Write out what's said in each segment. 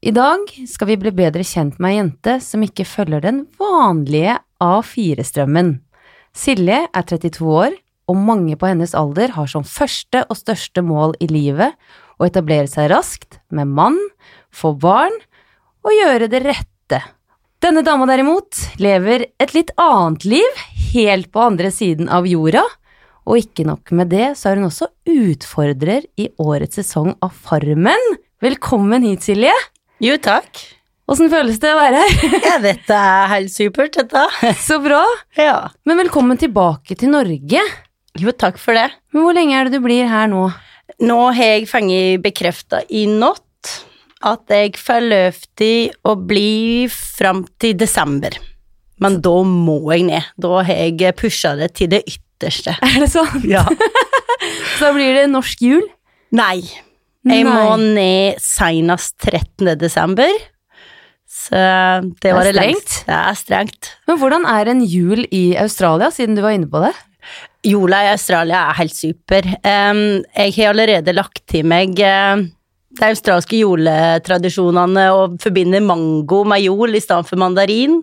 I dag skal vi bli bedre kjent med ei jente som ikke følger den vanlige A4-strømmen. Silje er 32 år, og mange på hennes alder har som første og største mål i livet å etablere seg raskt med mann, få barn og gjøre det rette. Denne dama derimot lever et litt annet liv, helt på andre siden av jorda. Og ikke nok med det, så er hun også utfordrer i årets sesong av Farmen. Velkommen hit, Silje. Jo, takk. Åssen føles det å være her? Ja, dette er helt supert, dette. Så bra! Ja. Men velkommen tilbake til Norge. Jo, takk for det. Men hvor lenge er det du blir her nå? Nå har jeg fanget bekrefta i natt at jeg får løp til å bli fram til desember. Men da må jeg ned. Da har jeg pusha det til det ytterste. Er det sånn? Ja. Så da blir det norsk jul? Nei. Jeg må Nei. ned senest 13. desember. Så det var Det er det strengt. lengst. Det er strengt. Men hvordan er en jul i Australia, siden du var inne på det? Jula i Australia er helt super. Em, jeg har allerede lagt til meg eh, de australske juletradisjonene og forbinder mango med jol i stedet for mandarin.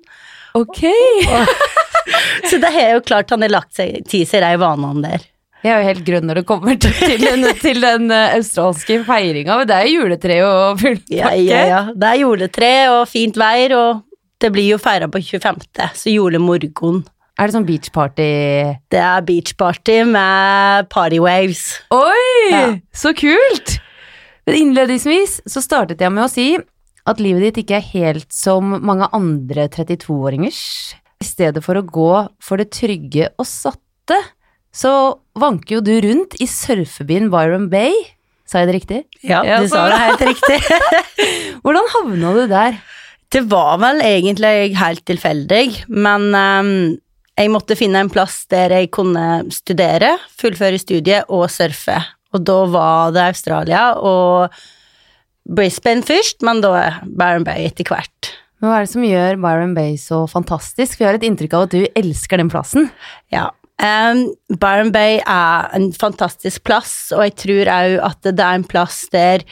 Ok! Så det har jeg jo klart han har lagt seg, til seg de vanene der. Jeg er jo helt grønn når det kommer til, til den, til den eh, australske feiringa, men det er jo juletre og full Ja, pakke. ja, ja. eh. Det er juletre og fint vær, og det blir jo feira på 25., så julemorgen. Er det sånn beachparty Det er beachparty med partywaves. Oi! Ja. Så kult! Men innledningsvis så startet jeg med å si at livet ditt ikke er helt som mange andre 32-åringers. I stedet for å gå for det trygge og satte, så vanker jo du rundt i surfebyen Byron Bay. Sa jeg det riktig? Ja, Ja, du så sa det helt riktig. Hvordan havna du der? Det var vel egentlig helt tilfeldig, men ehm, jeg måtte finne en plass der jeg kunne studere, fullføre studiet og surfe. Og da var det Australia og Brisbane først, men da Byron Bay etter hvert. Men hva er det som gjør Byron Bay så fantastisk? Vi har et inntrykk av at du elsker den plassen. Ja. Ehm, Byron Bay er en fantastisk plass, og jeg tror òg at det er en plass der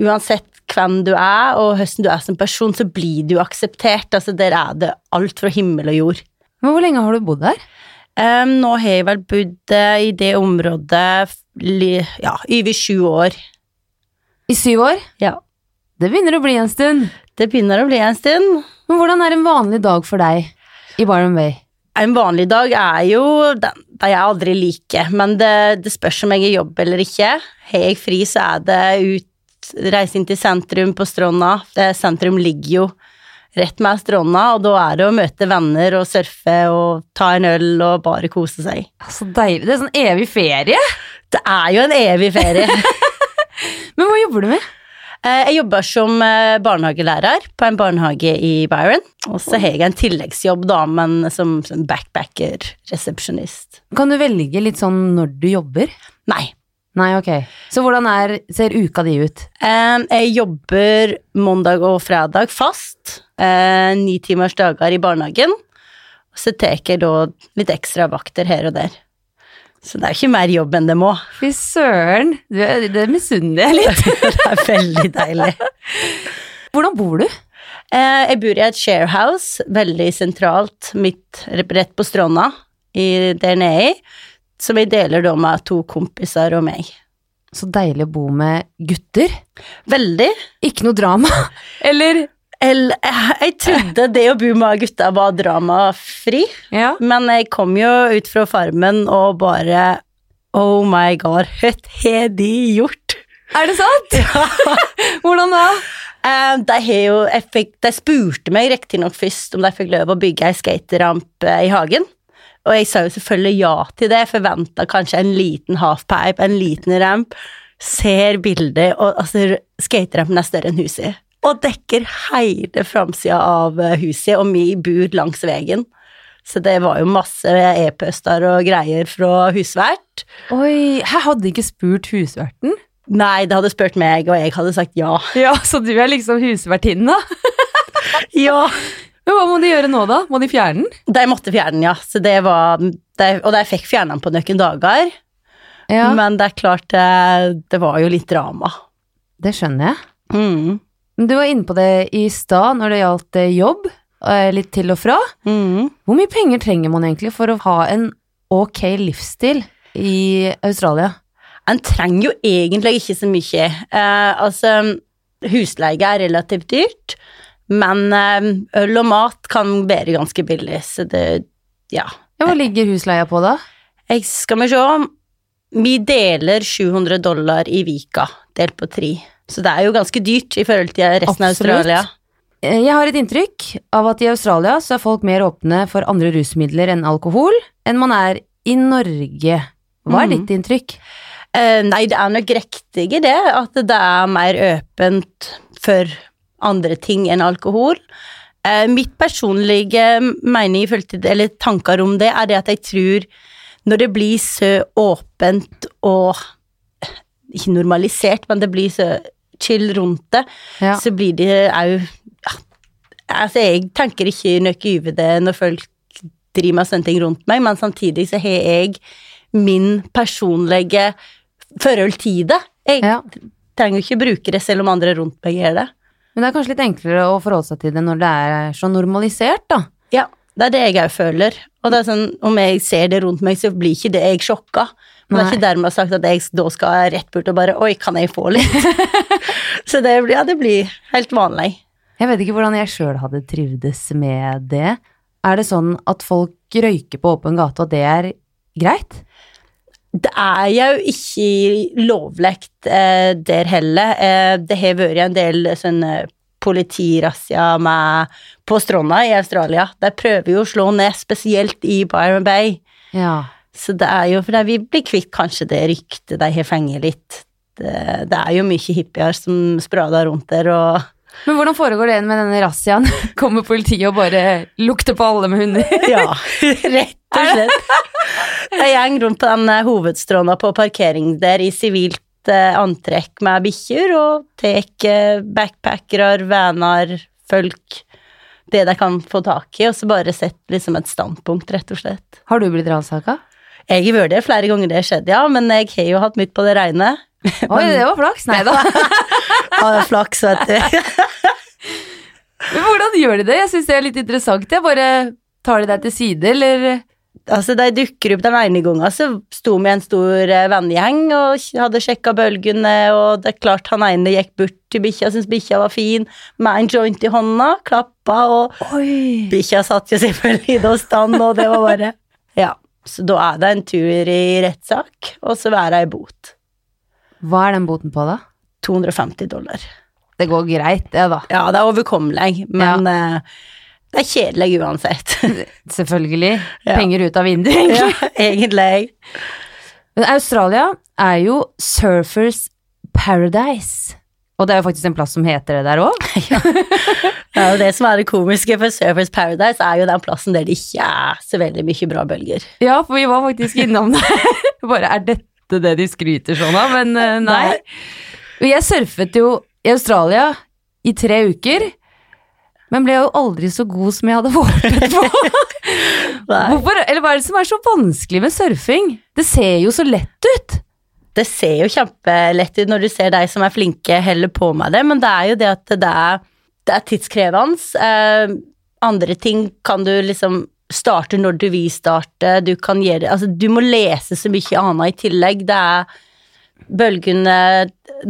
uansett hvem du er, og hvordan du er som person, så blir du akseptert. Altså, der er det alt fra himmel og jord. Men hvor lenge har du bodd der? Em, nå har jeg vel bodd eh, i det området f- li- ja, over sju år. I syv år? Ja. Det begynner å bli en stund. Det begynner å bli en stund. Men hvordan er en vanlig dag for deg i Byron Bay? En vanlig dag er jo den de jeg aldri liker, men det, det spørs om jeg har jobb eller ikke. Har jeg fri, så er det ut, reise inn til sentrum på stranda. Det, sentrum ligger jo rett med stranda, og da er det å møte venner og surfe og ta en øl og bare kose seg. Så deilig. Det er sånn evig ferie. Det er jo en evig ferie. Men hva jobber du med? Eh, Jeg jobber som eh, barnehagelærer på en barnehage i Byron. Og så har jeg en tilleggsjobb da, men som sånn backpacker-resepsjonist. Kan du velge litt sånn når du jobber? Nei. Nei, ok. Så hvordan er, ser uka di ut? Eh, Jeg jobber mandag og fredag fast. eh, Ni timers dager i barnehagen. Og så tar jeg da litt ekstra vakter her og der. Så det er ikke mer jobb enn det må. Fy søren, du er- det misunner jeg litt. Det er veldig deilig. Hvordan bor du? Eh, Jeg bor i et sharehouse, veldig sentralt, midt rett på stranda i, der nede i, som jeg deler da med to kompiser og meg. Så deilig å bo med gutter. Veldig. Ikke noe drama. Eller? Eller, eh, jeg trodde det å bo med gutta var dramafri, Ja. men jeg kom jo ut fra farmen og bare Oh my god, hva har de gjort? Er det sant? Hvordan da? Eh, de, har jo, jeg fikk, de spurte meg riktignok først om de fikk lov å bygge ei skateramp eh, i hagen. Og jeg sa jo selvfølgelig ja til det. Forventa kanskje en liten halfpipe, en liten ramp. Ser bildet, og altså, skaterampen er større enn huset. Og dekker hele framsida av eh, huset, og vi bor langs veien. Så det var jo masse e-poster og greier fra husvert. Oi, jeg hadde ikke spurt husverten. Nei, det hadde spurt meg, og jeg hadde sagt ja. Ja, så du er liksom husvertinnen da. Ja! Men hva må de gjøre nå da? Må de fjerne den? De måtte fjerne den, ja. Så det var, de, og de fikk fjerne den på noen dager. Men det er klart, det, det var jo litt drama. det skjønner jeg. Mm. Men du var inne på det i stad når det gjaldt eh, jobb, eh, litt til og fra. Mm. Hvor mye penger trenger man egentlig for å ha en ok livsstil i Australia? En trenger jo egentlig ikke så mye. Eh, altså, husleie er relativt dyrt, men eh, øl og mat kan være ganske billig, så det Ja. Ja, hva ligger husleia på da? Jeg skal vi se Vi deler 700 dollar i vika, delt på tre. Så det er jo ganske dyrt i forhold til resten av Absolutt. Australia. Eh, Jeg har et inntrykk av at i Australia så er folk mer åpne for andre rusmidler enn alkohol enn man er i Norge. Hva er Mhm. ditt inntrykk? Eh, nei, det er nok riktig i det, at det er mer åpent for andre ting enn alkohol. Eh, mitt personlige mening i forhold til, eller tanker om det, er det at jeg tror når det blir så åpent og eh, Ikke normalisert, men det blir så chill rundt det, Ja. så blir det òg ja, Altså, jeg tenker ikke noe over det når folk driver med sånne ting rundt meg, men samtidig så har jeg min personlige forhold til det. Jeg Ja. trenger jo ikke bruke det selv om andre rundt meg gjør det. Men det er kanskje litt enklere å forholde seg til det når det er så normalisert, da. Ja, det er det jeg òg føler. Og det er sånn, om jeg ser det rundt meg, så blir ikke det jeg sjokka. Men det er Nei. ikke dermed sagt at jeg da skal rett bort og bare Oi, kan jeg få litt? så det blir, ja, det blir helt vanlig. Jeg vet ikke hvordan jeg sjøl hadde trivdes med det. Er det sånn at folk røyker på åpen gate, og det er greit? Det er jo ikke lovlegt eh, der heller. Eh, det har vært en del sånne politirazzia med på stranda i Australia. De prøver jo å slå ned, spesielt i Byron Bay. Ja. Så det er jo fordi vi blir kvitt kanskje det ryktet de har fenget litt. Det, det er jo mye hippier som sprader rundt der og Men hvordan foregår det med denne razziaen? Kommer politiet og bare lukter på alle med hunder? Ja, rett og slett. Jeg gjeng rundt på den eh, hovedstråna på parkering der i sivilt eh, antrekk med bikkjer, og tek eh, backpackere, venner, folk Det de kan få tak i, og så bare sett liksom et standpunkt, rett og slett. Har du blitt ransaka? Jeg har vært der flere ganger det har skjedd, ja, men jeg har jo hatt mitt på det reine. Oi, det var flaks. Nei da. Av flaks, vet du. Men hvordan gjør de det? Jeg syns det er litt interessant. Jeg bare Tar de deg til side, eller Altså, De dukker opp den ene gangen, så sto vi en stor eh, vennegjeng og k- hadde sjekka bølgene, og det er klart han ene gikk bort til bikkja, syntes bikkja var fin, med en joint i hånda, klappa, og Oi. bikkja satt jo selvfølgelig i da stand, og det var bare Ja. Så da er det en tur i rettssak, og så er det ei bot. Hva er den boten på, da? 250 dollar. Det går greit, det, da. Ja, det er overkommelig, men eh, det er kjedelig uansett. Selvfølgelig. Ja. Penger ut av vinduet, egentlig. ja, egentlig. Men Australia er jo surfers paradise. Og det er jo faktisk en plass som heter det der òg. Ja, og det som er det komiske for Surfers Paradise, er jo den plassen der det ikke er så veldig mye bra bølger. Ja, for vi var faktisk innom det. Bare er dette det de skryter sånn av? Men eh, nei. Nei. Og jeg surfet jo i Australia i tre uker, men ble jo aldri så god som jeg hadde håpet på. Nei. Hvorfor, eller hva er det som er så vanskelig med surfing? Det ser jo så lett ut. Det ser jo kjempelett ut når du ser de som er flinke, heller på med det, men det er jo det at det er, det er tidskrevende. Eh, andre ting kan du liksom starte når du vil starte, du kan gjøre Altså, du må lese så mye annet i tillegg. Det er bølgene,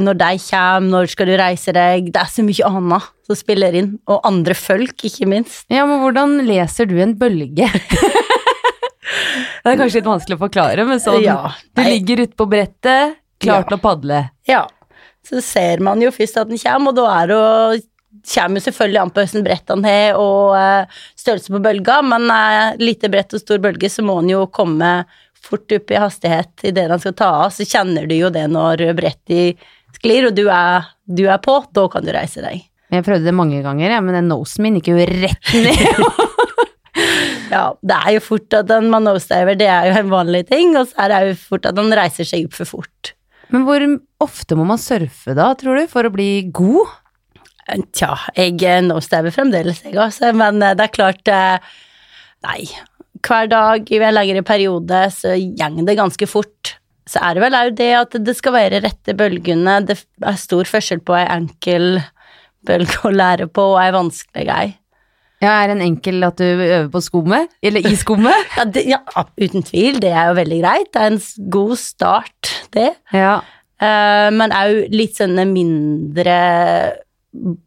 når de kommer, når skal du reise deg Det er så mye annet som spiller inn, og andre folk, ikke minst. Ja, men hvordan leser du en bølge? det er kanskje litt vanskelig å forklare, men sånn Ja, Du nei. ligger ute på brettet, klar til å padle. Ja, så ser man jo først at den kommer, og da er det jo kommer jo selvfølgelig an på hvordan brett han har og eh, størrelse på bølga, men eh, lite brett og stor bølge, så må han jo komme fort opp i hastighet i det han skal ta av. Så kjenner du jo det når brettet sklir, og du er, du er på, da kan du reise deg. Jeg prøvde det mange ganger, ja, men den nosen min gikk jo rett ned. Ja, det er jo fort at en manose-diver, det er jo en vanlig ting, og så er det jo fort at han reiser seg opp for fort. men hvor ofte må man surfe da, tror du, for å bli god? Tja, jeg eh, nosediver fremdeles, jeg altså. Men eh, det er klart eh, Nei. Hver dag i en lengre periode så går det ganske fort. Så er det vel òg det at det skal være rette bølgene. Det er stor forskjell på ei enkel kjempeenkel å lære på, og er vanskelig ei. Ja, er en enkel at du øver på skummet? Eller i skummet? Ja, det, ja, uten tvil, det er jo veldig greit. Det er en s- god start, det. ja. Eh, men òg litt sånne mindre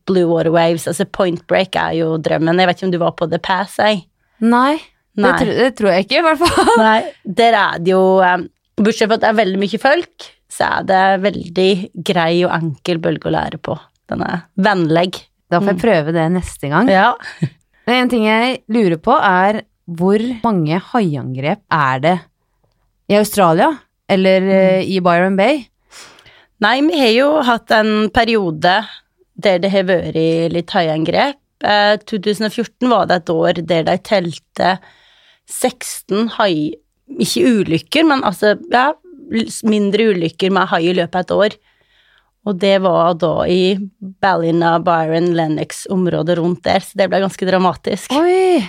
blue water waves. Altså point break er jo drømmen. Jeg vet ikke om du var på The Pass, jeg. Nei, Det, Nei. tro, det tror jeg ikke, i hvert fall. Nei, der er det jo eh, Bortsett fra at det er veldig mye folk, så er det veldig grei og enkel bølge å lære på. Den er vennlig. Da får jeg prøve det neste gang. Ja. Men en ting jeg lurer på, er hvor mange haiangrep er det i Australia? Eller eh, i Byron Bay? Nei, vi har jo hatt en periode der det har vært litt haiangrep. Eh, 2014 var det et år der de telte 16 hai... Ikke ulykker, men altså ja, mindre ulykker med hai i løpet av et år. Og det var da i Ballina, Byron, Lennox-området rundt der, så det ble ganske dramatisk. Oi!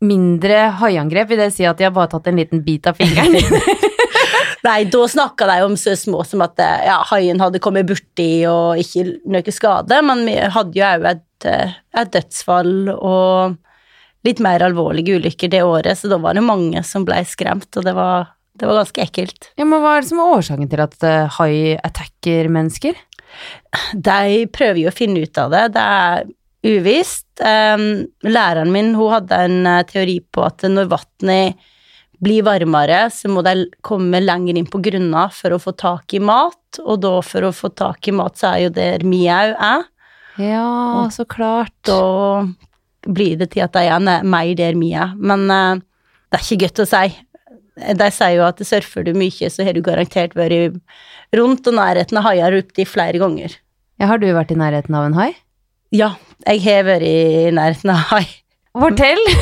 Mindre haiangrep, vil det si at de har bare tatt en liten bit av fingeren din? Nei, da snakka de om så små som at eh, ja, haien hadde kommet borti og ikke noe skade, men vi hadde jo òg et, eh, et dødsfall og litt mer alvorlige ulykker det året, så da var det mange som ble skremt, og det var, det var ganske ekkelt. ja, men hva er det som er årsaken til at eh, hai attacker mennesker? De prøver jo å finne ut av det, det er uvisst. Em, læreren min hun hadde en eh, teori på at når vannet blir varmere, så må de komme lenger inn på grunna for å få tak i mat, og da for å få tak i mat, så er jo der mjau er. Ja, så klart. Da blir det til at de er nær- mer der mjau. Men eh, det er ikke godt å si. De sier jo at surfer du mye, så har du garantert vært rundt og nærheten av haier opptil flere ganger. Ja, har du vært i nærheten av en hai? Ja, jeg har vært i nærheten av hai. Fortell!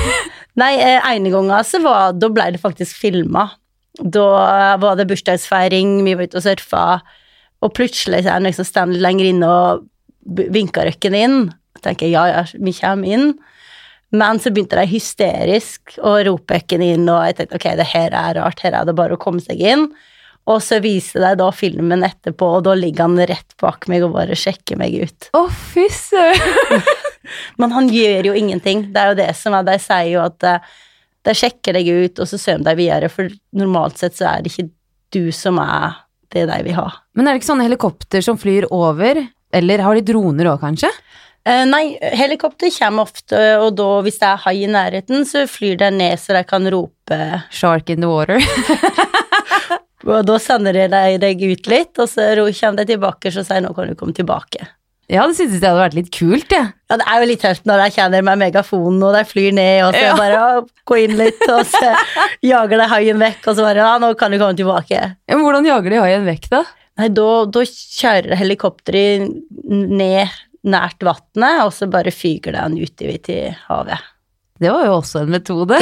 Nei, eh, ene gangen så var, da ble det faktisk filma. Da var det bursdagsfeiring, vi var ute og surfa, og plutselig så er det noen som står litt lenger inne og b- vinker røkken inn. Jeg tenker ja, ja, vi kommer inn. Men så begynte de hysterisk å rope røkken inn, og jeg tenkte ok, det her er rart, her er det bare å komme seg inn. Og så viser de da filmen etterpå, og da ligger han rett bak meg og bare sjekker meg ut. Å, fy søren! Men han gjør jo ingenting. Det er jo det som er De sier jo at eh, de sjekker deg ut, og så søm deg videre, for normalt sett så er det ikke du som er det de vil ha. Men er det ikke sånne helikopter som flyr over? Eller har de droner òg, kanskje? Eh, nei, helikopter kommer ofte, og da, hvis det er hai i nærheten, så flyr de ned så de kan rope. Shark in the water. Og da sender de deg- deg ut litt, og så ro- kommer de tilbake, så sier de, nå kan du komme tilbake. Ja, det synes jeg hadde vært litt kult, jeg. Ja, det er jo litt tøft når de kjenner med megafonen, og de flyr ned, og så Ja. bare å, gå inn litt, og så jager de haien vekk, og så bare ja, nå kan du komme tilbake. Ja, men hvordan jager de haien vekk, da? Nei, da, da kjører helikopteret ned nært vannet, og så bare fyker det han ut i til havet. Det var jo også en metode.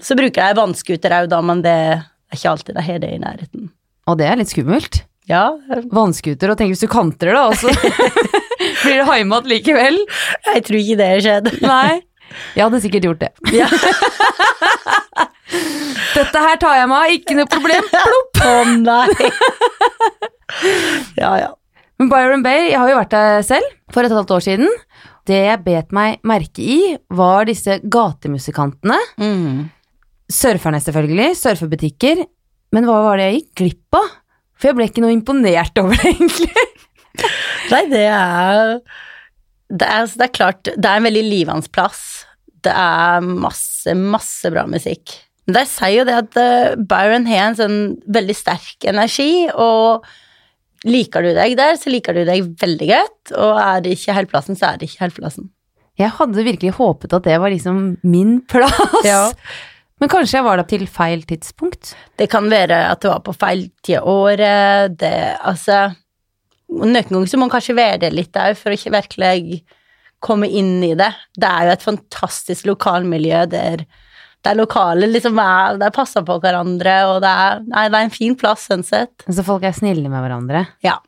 Så bruker jeg vannskuter òg, da, men det er ikke alltid de har det i nærheten. Og det er litt skummelt. Ja, Vannskuter, og tenk hvis du kantrer det, og så blir det haimat likevel. jeg tror ikke det har skjedd. Nei. Jeg hadde sikkert gjort det. Ja. Dette her tar jeg meg av, ikke noe problem. Plopp! Å nei! Ja, ja. Men Byron Bay, jeg har jo vært der selv for et halvt år siden. Det jeg bet meg merke i, var disse gatemusikantene. Mm. Surferne, selvfølgelig. Surfebutikker. Men hva var det jeg gikk glipp av? For jeg ble ikke noe imponert over det, egentlig. Nei, det er, det er Det er klart, det er en veldig livende plass. Det er masse, masse bra musikk. Men de sier jo det at eh, Byron har en sånn veldig sterk energi, og liker du deg der, så liker du deg veldig godt, og er det ikke helt plassen, så er det ikke helt plassen. Jeg hadde virkelig håpet at det var liksom min plass. Ja. Men kanskje jeg var der til feil tidspunkt. Det kan være at det var på feil tid av året, det Altså Noen ganger så må man kanskje være det litt òg, for å ikke virkelig komme inn i det. Det er jo et fantastisk lokalmiljø der de lokale liksom er De passer på hverandre, og det er Nei, det er en fin plass, sånn sett. Så folk er snille med hverandre. Ja.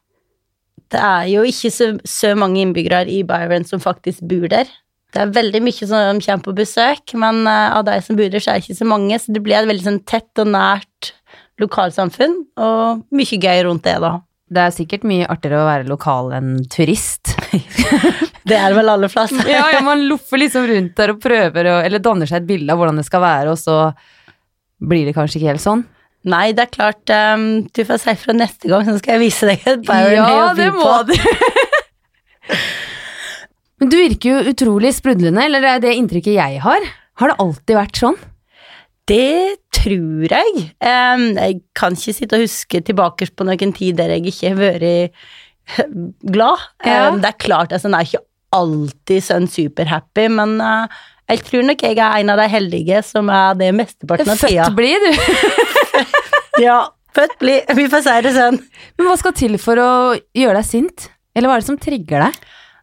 Det er jo ikke så, så mange innbyggere i Byron som faktisk bor der. Det er veldig mye som kommer på besøk, men eh, av de som bor der, så er det ikke så mange. Så det blir et veldig sånn tett og nært lokalsamfunn, og mye gøy rundt det, da. Det er sikkert mye artigere å være lokal enn turist. Det er vel alle plasser. ja, ja, man loffer liksom rundt der og prøver å Eller danner seg et bilde av hvordan det skal være, og så blir det kanskje ikke helt sånn. Nei, det er klart ehm, Du får si fra neste gang, så skal jeg vise deg et Byron Hay Ja, å by det på. må du. Men du virker jo utrolig sprudlende, eller det er det inntrykket jeg har. Har det alltid vært sånn? Det tror jeg. Ehm, jeg kan ikke sitte og huske tilbake på noen tid der jeg ikke har vært glad. Ja. Ehm, det er klart, altså, en er ikke alltid sånn superhappy, men eh, jeg tror nok jeg er en av de heldige som er det mesteparten av tida. Født blir du. Ja, født bli. Vi får si det sånn. Men hva skal til for å gjøre deg sint? Eller hva er det som trigger deg?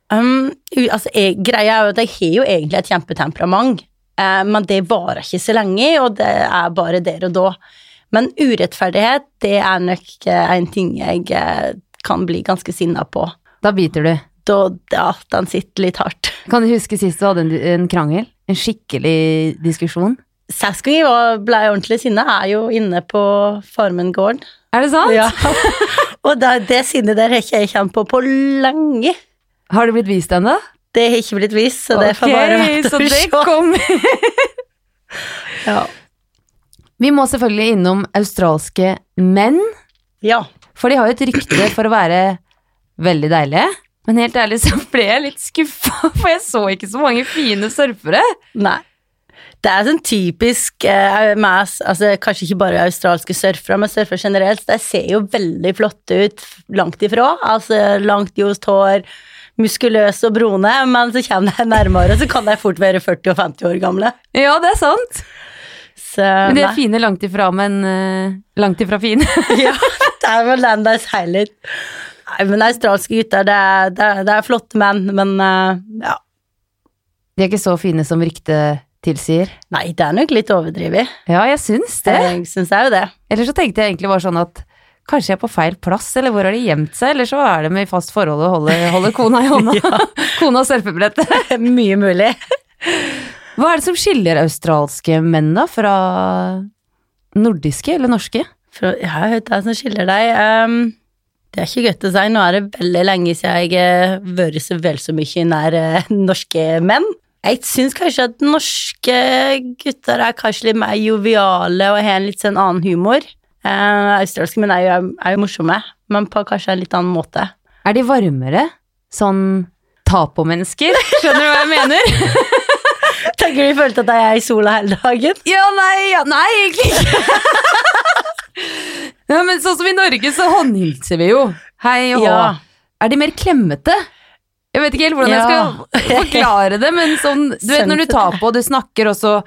Um, u- altså, jeg, greia er jo at jeg har jo egentlig et kjempetemperament, eh, men det varer ikke så lenge, og det er bare der og da. Men urettferdighet, det er nok eh, en ting jeg eh, kan bli ganske sinna på. Da biter du. Da, ja, den sitter litt hardt. Kan du huske sist du hadde en, en krangel? En skikkelig diskusjon? Sist gang jeg var- ble ordentlig sinna, er jo inne på Farmen gården. Er det sant? Ja. og det, det sinnet der har ikke jeg kjent på på lenge. Har det blitt vist ennå? Det har ikke blitt vist, så det får bare vente så og det se. kommer. Ja. Vi må selvfølgelig innom australske menn. ja. For de har jo et rykte for å være veldig deilige. Men helt ærlig så ble jeg litt skuffa, for jeg så ikke så mange fine surfere. Nei. Det er sånn typisk eh, med, altså, Kanskje ikke bare australske surfere, men surfere generelt. De ser jo veldig flotte ut langt ifra. Altså langt ljust hår, muskuløse og brune, men så kommer de nærmere, så kan de fort være 40 og 50 år gamle. Ja, det er sant. Så Men de nei. er fine langt ifra, men eh, langt ifra fine. ja, det er vel den de sier litt. Nei, men australske gutter, det er, det er, det er flotte menn, men eh, ja. De er ikke så fine som ryktet tilsier. Nei, det er nok litt overdrevet. Ja, jeg syns det. Jeg syns jeg jo det. Eller så tenkte jeg egentlig bare sånn at kanskje jeg er på feil plass, eller hvor har de gjemt seg, eller så er det med fast forhold og holder, holder kona i hånda. Kona og surfebrettet. Mye mulig. Hva er det som skiller australske menn da fra nordiske eller norske? For, ja, jeg vet hva som skiller deg. Ehm, det er ikke godt å si. Nå er det veldig lenge siden jeg har vært så vel så mye nær eh, norske menn. Jeg syns kanskje at norske gutter er kanskje litt mer joviale og har en litt sånn annen humor. Eh, australske menn er jo, er jo morsomme, men på kanskje en litt annen måte. Er de varmere? Sånn ta-på-mennesker? Skjønner du hva jeg mener? Tenker du de følte at jeg er i sola hele dagen? ja, nei, ja, nei, egentlig ikke. ja, men sånn som i Norge, så håndhilser vi jo. Hei og hå. Ja. Er de mer klemmete? Jeg vet ikke helt hvordan jeg skal forklare det, men sånn Du vet når du tar på, du snakker, og så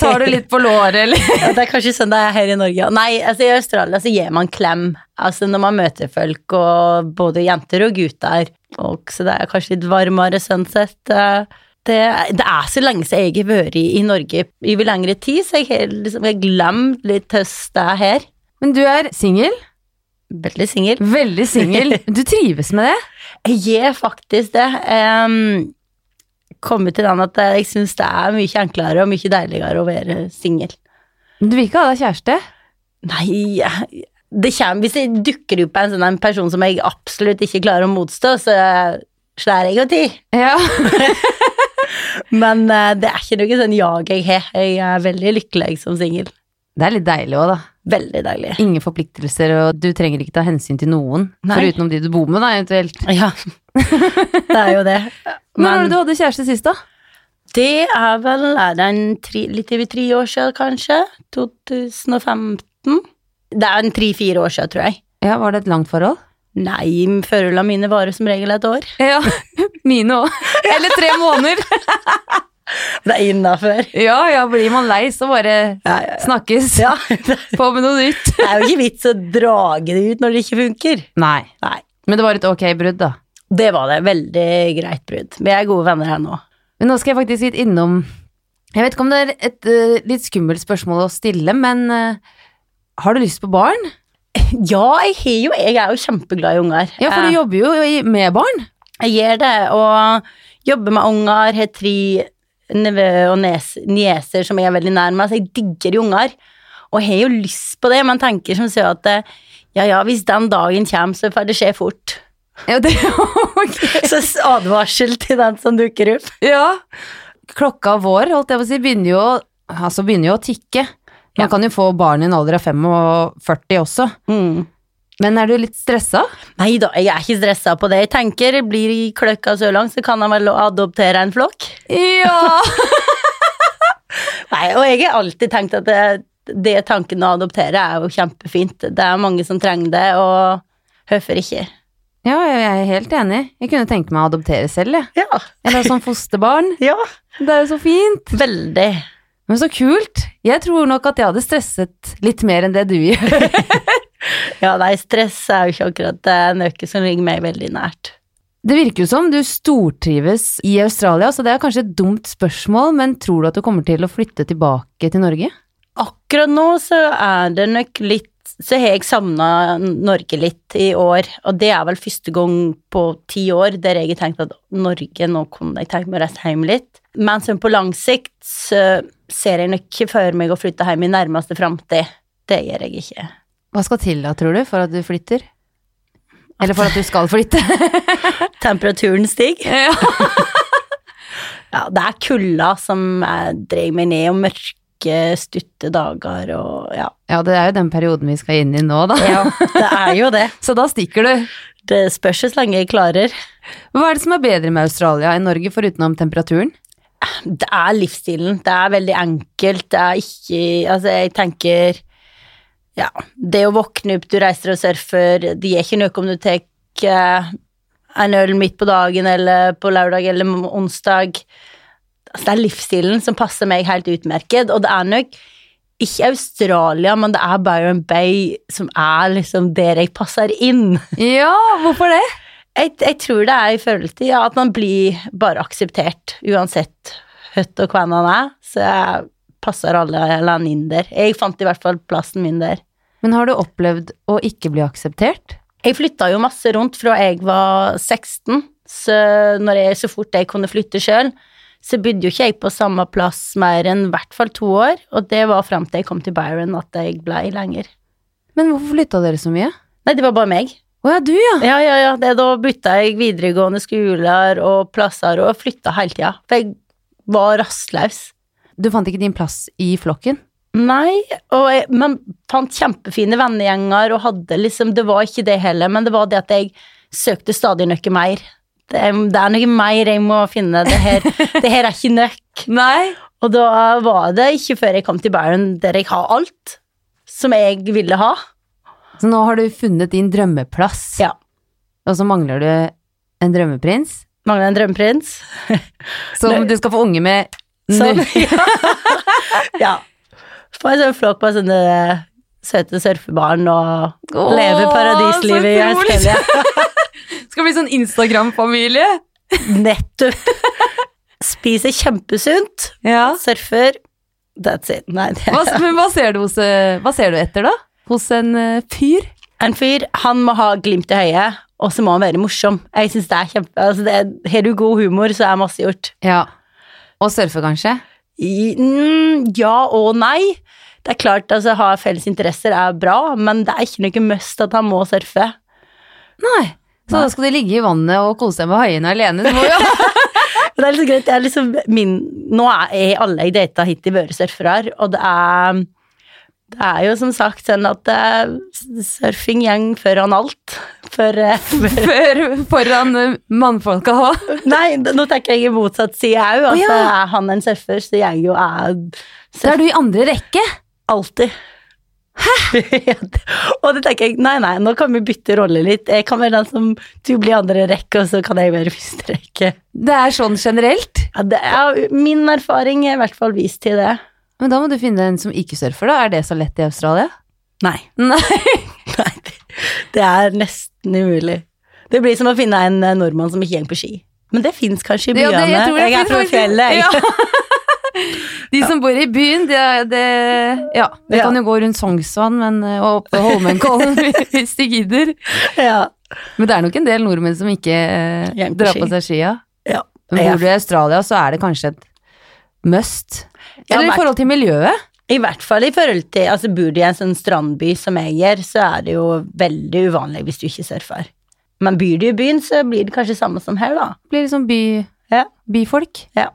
tar du litt på låret, eller Ja, det er kanskje sånn det er her i Norge. ja. Nei, altså I Australia så gir man klem Altså når man møter folk, og både jenter og gutter. Og så det er kanskje litt varmere sunset. eh, Det, det er så lenge siden jeg har vært i Norge i lengre tid, så jeg har liksom jeg har glemt litt høst det er her. Men du er singel. Veldig singel. Veldig singel. Du trives med det? Jeg gjør faktisk det. Um, kommet til den at jeg syns det er mye enklere og mye deiligere å være singel. Men du vil ikke ha deg kjæreste? Nei jeg- det kommer, Hvis det dukker opp en sånn en person som jeg absolutt ikke klarer å motstå, så slår jeg av tid. Ja. Men eh, det er ikke noe sånn jag jeg har. Jeg er veldig lykkelig som singel. Det er litt deilig òg, da. Veldig deilig. Ingen forpliktelser, og du trenger ikke ta hensyn til noen. Nei. Foruten om de du bor med, da, eventuelt. Ja, det er jo det. Når var Men det du hadde kjæreste sist, da? det er vel er det en tre, litt over tre år siden, kanskje? 2015? Det er en tre-fire år siden, tror jeg. Ja, Var det et langt forhold? Nei, forholdene mine varer som regel et år. Ja. Mine òg. Eller tre måneder. Det er innafor. Ja, ja, blir man lei, så bare Ja, ja. snakkes. Ja, det På med noe nytt. Det er jo ikke vits å drage det ut når det ikke funker. Nei. Nei. Men det var et ok brudd, da. Det var det. Veldig greit brudd. Vi er gode venner her nå. Men nå skal jeg faktisk litt innom Jeg vet ikke om det er et eh, litt skummelt spørsmål å stille, men eh, har du lyst på barn? Ja, jeg, har jo, jeg er jo kjempeglad i unger. Ja, for du Eh, jobber jo i- med barn. Jeg gjør det, og jobber med unger. Har tre nevø og nes, nieser som jeg er veldig nær meg, så jeg digger jo unger. Og har jo lyst på det, men tenker som så at eh, Ja, ja, hvis den dagen kommer, så får det skje fort. Ja, det, ok. Så s- advarsel til den som dukker opp. ja. Klokka vår, holdt jeg på å si, begynner jo, å- altså begynner jo å tikke. Man Ja. kan jo få barn i en alder av 45 også. Men er du litt stressa? Mm. Nei da, jeg er ikke stressa på det. Jeg tenker, Blir kløkka så lang, så kan han vel adoptere en flokk. Ja! Nei, og jeg har alltid tenkt at det, det tanken å adoptere er jo kjempefint. Det er mange som trenger det, og hvorfor ikke? Ja, jeg er helt enig. Jeg kunne tenke meg å adoptere selv, jeg. Ja. Eller som fosterbarn. ja. Det er jo så fint. Veldig. Men så kult. Jeg tror nok at jeg hadde stresset litt mer enn det du gjør. Ja, nei, stress er jo ikke akkurat eh, noe som ligger meg veldig nært. Det virker jo som du stortrives i Australia, så det er kanskje et dumt spørsmål, men tror du at du kommer til å flytte tilbake til Norge? Akkurat nå så er det nok litt Så har jeg savna Norge litt i år, og det er vel første gang på ti år der jeg har tenkt at Norge, nå kunne jeg tenkt meg å reise hjem litt. Men sånn på lang sikt så ser jeg nok ikke for meg å flytte hjem i nærmeste framtid. Det gjør jeg ikke. Hva skal til da, tror du, for at du flytter? Eller for at du skal flytte? Temperaturen stiger. ja. Ja, det er kulda som eh, dreier meg ned, og mørke, stutte dager og ja. ja, det er jo den perioden vi skal inn i nå, da. ja. Det er jo det. Så da stikker du. Det spørs så lenge jeg klarer. Hva er det som er bedre med Australia enn Norge, forutenom temperaturen? Det er livsstilen. Det er veldig enkelt. Det er ikke Altså, jeg tenker Ja. Det å våkne opp, du reiser og surfer, det gjør ikke noe om du tar eh, en øl midt på dagen eller på lørdag eller m- onsdag. Altså, det er livsstilen som passer meg helt utmerket, og det er nok ikke Australia, men det er Byron Bay som er liksom der jeg passer inn. Ja, hvorfor det? Jeg, jeg tror det er i forhold til ja, at man blir bare akseptert, uansett høtt og hvem han er. Så jeg passer alle land inn der. Jeg fant i hvert fall plassen min der. Men har du opplevd å ikke bli akseptert? Jeg flytta jo masse rundt fra jeg var 16, så, når jeg, så fort jeg kunne flytte sjøl, så bodde jo ikke jeg på samme plass mer enn i hvert fall to år, og det var fram til jeg kom til Byron at jeg blei lenger. Men hvorfor flytta dere så mye? Nei, det var bare meg. Å ja, du ja. Ja, ja, ja. Det, da bytta jeg videregående skoler og plasser og flytta hele tida. For jeg var rastløs. Du fant ikke din plass i flokken? Nei, og jeg, men fant kjempefine vennegjenger og hadde liksom Det var ikke det heller, men det var det at jeg søkte stadig noe mer. Det er, det er noe mer jeg må finne. Det her, det her er ikke nok. Nei. Og da var det ikke før jeg kom til Byron, der jeg har alt som jeg ville ha. Så nå har du funnet din drømmeplass, Ja. og så mangler du en drømmeprins Mangler en drømmeprins. som Nei. du skal få unge med Sånn, nå. ja. ja. Få en sånn flokk med sånne søte surfebarn og Åh, leve paradislivet i så utrolig. Australia. Skal bli sånn Instagram-familie. Nettopp. Spiser kjempesunt, Ja. surfer. That's it. Nei, det. Hva, men hva ser, du hos, eh, hva ser du etter, da? Hos en eh, fyr? En fyr, han må ha glimt i øyet, og så må han være morsom. Jeg synes det er kjempe... Altså, det er, har du god humor, så er masse gjort. Ja. Og surfe, kanskje? I, mm, ja og nei. Det er klart, altså, ha felles interesser er bra, men det er ikke noe must at han må surfe. Nei. Så Nei. da skal de ligge i vannet og kose seg med haiene alene. Så må jo Men det er litt greit, jeg er liksom min, Nå er jeg alle jeg data hittil vært surfere, og det er det er jo som sagt sånn at eh, surfing gjeng foran alt. For, eh, for før, foran eh, mannfolka òg. Nei, nå tenker jeg i motsatt side òg. Å, Altså, ja. Er han en surfer, så jeg jo er Så er du i andre rekke. Alltid. Hæ?! og det tenker jeg, nei, nei, nå kan vi bytte rolle litt. Jeg kan være den som du blir i andre rekke, og så kan jeg være i første rekke. Det er sånn generelt. Ja, det er, min erfaring er i hvert fall vist til det. Men da må du finne en som ikke surfer, da. Er det så lett i Australia? Nei. Nei. Nei, det, det er nesten umulig. Det blir som å finne en eh, nordmann som ikke går på ski. Men det fins kanskje i Ja, byene. det- jeg tror det er fra finnes fjellet. jeg. faktisk- Ja. De som bor i byen, det, er- det Ja, det Ja. kan jo gå rundt Sognsvann men, eh, og opp på Holmenkollen hvis de gidder. Ja. Men det er nok en del nordmenn som ikke eh, Gjerne på drar ski. på seg skia. Ja. Men Jeg- bor du i Australia, så er det kanskje et must. Ja, Eller i men- forhold til miljøet. I hvert fall i forhold til altså Bor du i en sånn strandby som jeg gjør, så er det jo veldig uvanlig hvis du ikke surfer. Men bor du i byen, så blir det kanskje samme som her, da. Blir liksom by, Ja. byfolk. Ja.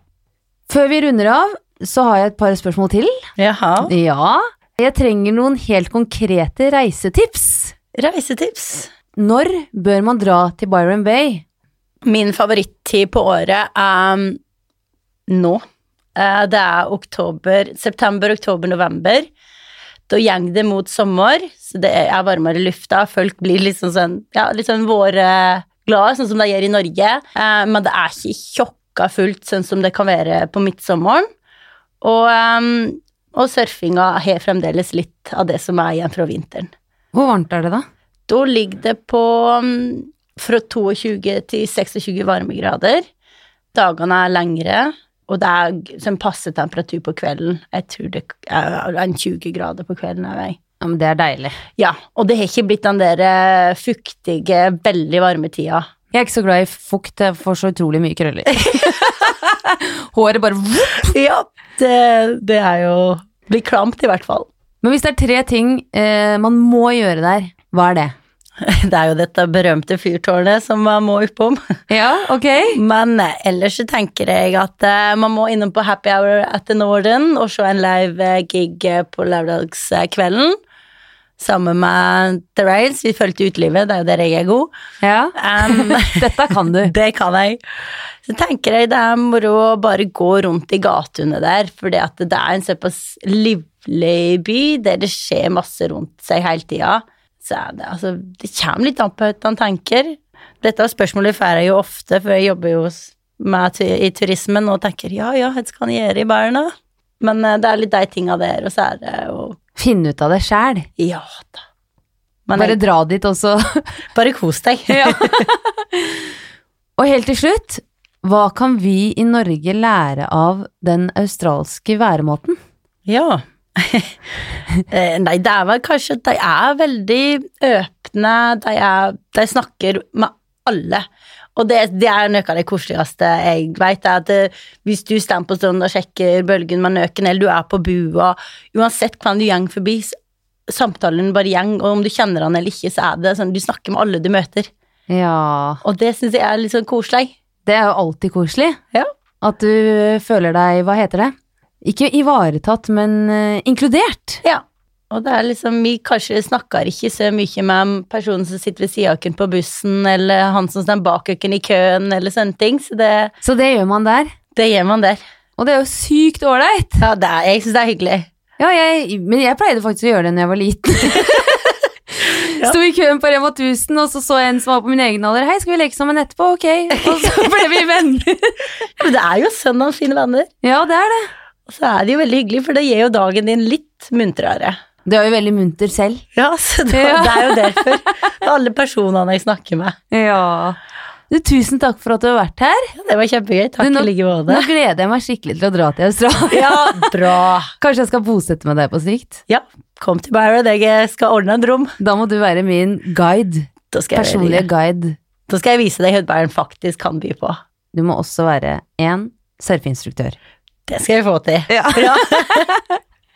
Før vi runder av, så har jeg et par spørsmål til. Jaha. Ja. Jeg trenger noen helt konkrete reisetips. Reisetips. Når bør man dra til Byron Bay? Min favorittid på året er mm, nå. Eh, Det er oktober, september, oktober, november. Da går det mot sommer, så det er varmere i lufta. Folk blir litt sånn, sånn, ja, litt sånn vårglade, sånn som de gjør i Norge. Eh, Men det er ikke tjokka fullt, sånn som det kan være på midtsommeren. Og, eh, og surfinga har fremdeles litt av det som er igjen fra vinteren. Hvor varmt er det, da? Da ligger det på mm, fra 22 til 26 varmegrader. Dagene er lengre, og det er g- sånn passe temperatur på kvelden. Jeg tror det k- er en 20 grader på kvelden. Er jeg. Ja, men Det er deilig. Ja, og det har ikke blitt den der eh, fuktige, veldig varme tida. Jeg er ikke så glad i fukt. Jeg får så utrolig mye krøller. Håret bare vup. Ja, det, det er jo Blir klamt, i hvert fall. Men hvis det er tre ting eh, man må gjøre der, hva er det? Det er jo dette berømte fyrtårnet som man må oppom. Ja, ok. Men eh, ellers så tenker jeg at eh, man må innom på Happy Hour at the Norden og se en live eh, gig eh, på lørdagskvelden. Sammen med The Rails. Vi fulgte utelivet, det er jo der jeg er god. Ja. Um, Dette kan du. det kan jeg. Så tenker jeg det er moro å bare gå rundt i gatene der, fordi at det er en såpass livlig by der det skjer masse rundt seg hele tida. Så er det, altså, det kommer litt an på hva man tenker. Dette spørsmålet får jeg jo ofte, for jeg jobber jo s- med, tu- i turismen og tenker ja, ja, hva skal man gjøre i Bæren, da? Men eh, det er litt de tinga der, og så er det jo Finn ut av det sjæl. Ja da. Men Bare jeg, dra dit også. bare kos deg. Ja. Og helt til slutt, hva kan vi i Norge lære av den australske væremåten? Ja. Eh, Nei, det er vel kanskje at de er veldig åpne. De, er, de snakker med alle. Og det, det er noe av det koseligste jeg vet, er at eh, hvis du står på stranda og sjekker bølgen med nøken, eller du er på bua, uansett hvem du går forbi, s- samtalen bare gjeng, og om du kjenner han eller ikke, så er det sånn, du snakker med alle du møter. Ja, Og det syns jeg er litt sånn koselig. det er jo alltid koselig. Ja. At du føler deg, hva heter det? Ikke ivaretatt, men eh, inkludert. Ja. Og det er liksom, vi kanskje snakker ikke så mye med personen som sitter ved siden av oss på bussen, eller han som står bak oss i køen, eller sånne ting. Så det, Så det gjør man der. det gjør man der. Og det er jo sykt ålreit! Ja, det er, jeg syns det er hyggelig. Ja, jeg, men jeg pleide faktisk å gjøre det når jeg var liten. Sto i køen på Rema 1000, og så så jeg en som var på min egen alder. 'Hei, skal vi leke sammen etterpå?' Ok. Og så ble vi venner. Men det er jo sønn av sine venner. Ja, det er det. Og så er det jo veldig hyggelig, for det gir jo dagen din litt muntrere. Du er jo veldig munter selv. Ja, så det, Ja. det er jo derfor. Det er alle personene jeg snakker med. Ja. Du, tusen takk for at du har vært her. Ja, Det var kjempegøy. Takk Du, nå- i like Nå måte. gleder jeg meg skikkelig til å dra til Australia. Ja, bra. Kanskje jeg skal bosette meg der på sikt. Ja, kom til Byron. Jeg skal ordne et rom. Da må du være min guide. Da skal jeg, Personlige guide. da skal jeg vise deg hva Byron faktisk kan by på. Du må også være en surfeinstruktør. Tá é. Det skal vi få til. Ja. Ja.